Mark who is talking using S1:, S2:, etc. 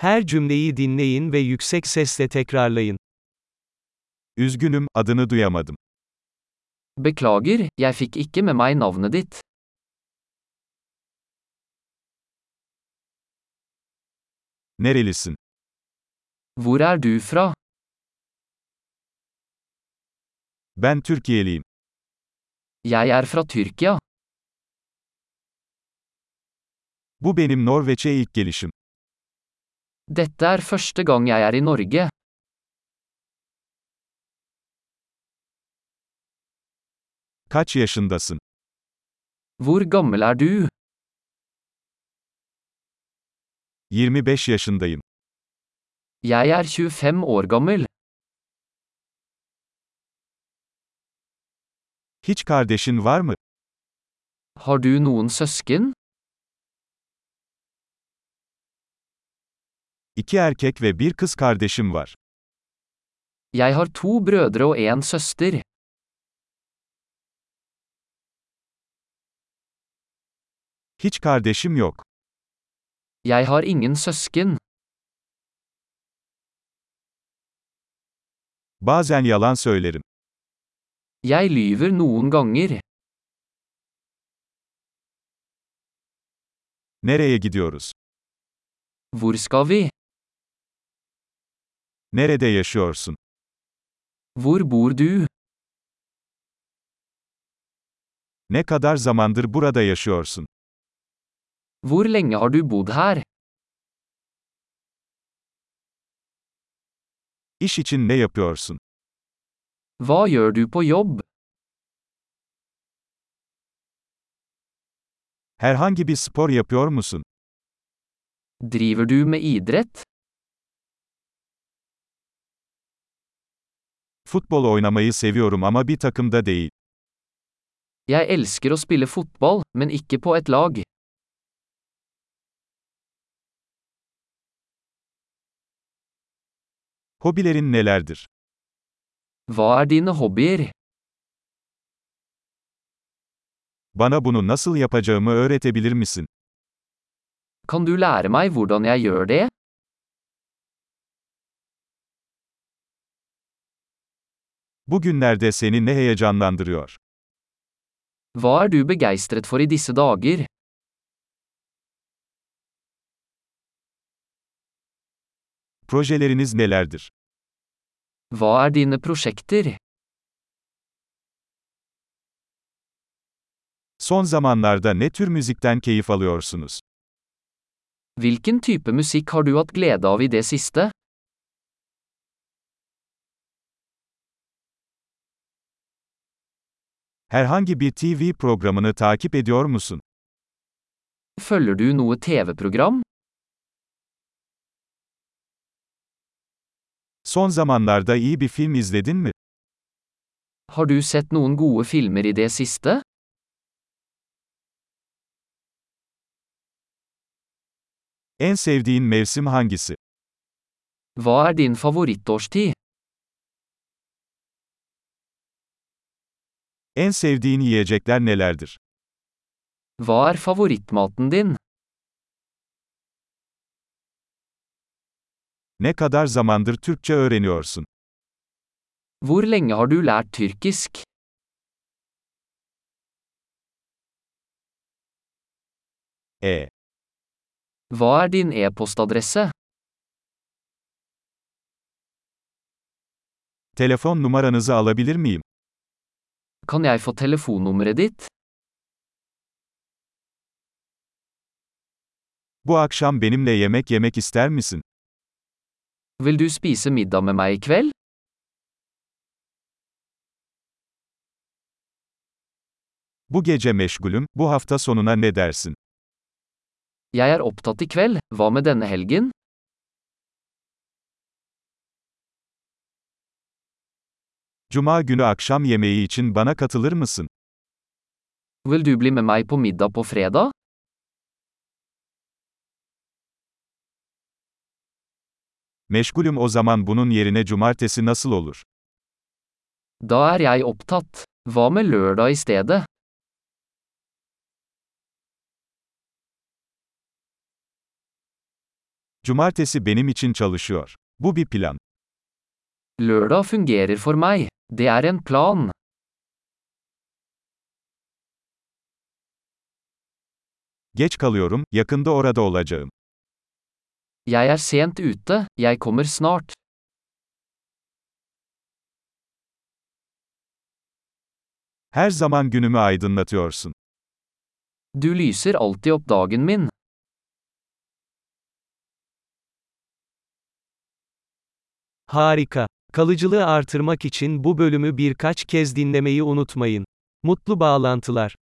S1: Her cümleyi dinleyin ve yüksek sesle tekrarlayın.
S2: Üzgünüm, adını duyamadım.
S3: Beklager, jeg fikk ikke med meg navnet ditt.
S2: Nerelisin?
S3: Hvor er du fra?
S2: Ben Türkiye'liyim.
S3: Jeg er fra Tyrkia.
S2: Bu benim Norveç'e ilk gelişim.
S3: Dette er første gang jeg er i Norge.
S2: Kaç yaşındasın?
S3: Hvor gammel er du?
S2: 25 yaşındayım.
S3: Jeg er 25 år gammel.
S2: Hiç kardeşin var mı?
S3: Har du noen søsken?
S2: İki erkek ve bir kız kardeşim var.
S3: Jeg har to brødre og en søster.
S2: Hiç kardeşim yok.
S3: Jeg har ingen søsken.
S2: Bazen yalan söylerim.
S3: Jeg lyver noen ganger.
S2: Nereye gidiyoruz?
S3: Hvor skal vi?
S2: Nerede yaşıyorsun?
S3: Hvor bor du?
S2: Ne kadar zamandır burada yaşıyorsun?
S3: Hvor lenge har du bodd her?
S2: İş için ne yapıyorsun?
S3: Hva gjør du på jobb?
S2: Herhangi bir spor yapıyor musun?
S3: Driver du med idrett?
S2: Futbol oynamayı seviyorum ama bir takımda değil.
S3: Jeg elsker å spille fotball, men ikke på et lag.
S2: Hobilerin nelerdir?
S3: Hva er dine hobbyer?
S2: Bana bunu nasıl yapacağımı öğretebilir misin?
S3: Kan du lære meg hvordan jeg gjør det?
S2: Bugünlerde seni ne heyecanlandırıyor?
S3: Hva er du begeistret for i disse dager?
S2: Projeleriniz nelerdir?
S3: Hva er dine prosjekter?
S2: Son zamanlarda ne tür müzikten keyif alıyorsunuz?
S3: Hvilken type musikk har du hatt glede av i det siste?
S2: Herhangi bir TV programını takip ediyor musun?
S3: Følger du noe TV-program?
S2: Son zamanlarda iyi bir film izledin mi?
S3: Har du sett noen gode filmer i det siste?
S2: En sevdiğin mevsim hangisi?
S3: Hva er din favorittårstid?
S2: En sevdiğin yiyecekler nelerdir?
S3: Hva er favorittmaten din?
S2: Ne kadar zamandır Türkçe öğreniyorsun?
S3: Hvor lenge har du lært tyrkisk?
S2: E.
S3: Hva er din e-postadresse?
S2: Telefon numaranızı alabilir miyim?
S3: Kan jeg få telefonnummeret ditt?
S2: Bu akşam benimle yemek yemek ister misin?
S3: Vil du spise middag med meg i kveld?
S2: Bu gece meşgulüm, bu hafta sonuna ne dersin?
S3: Jeg er opptatt i kveld, hva med denne helgen?
S2: Cuma günü akşam yemeği için bana katılır mısın?
S3: Vil du bli med meg på middag på fredag?
S2: Meşgulüm o zaman bunun yerine cumartesi nasıl olur?
S3: Da er jeg opptatt. Hva med lørdag i stedet?
S2: Cumartesi benim için çalışıyor. Bu bir plan.
S3: Lørdag fungerer for meg. Det er en plan.
S2: Geç kalıyorum, yakında orada olacağım.
S3: Jeg er sent ute, jeg kommer snart.
S2: Her zaman günümü aydınlatıyorsun.
S3: Du lyser alltid opp dagen min.
S1: Harika. Kalıcılığı artırmak için bu bölümü birkaç kez dinlemeyi unutmayın. Mutlu bağlantılar.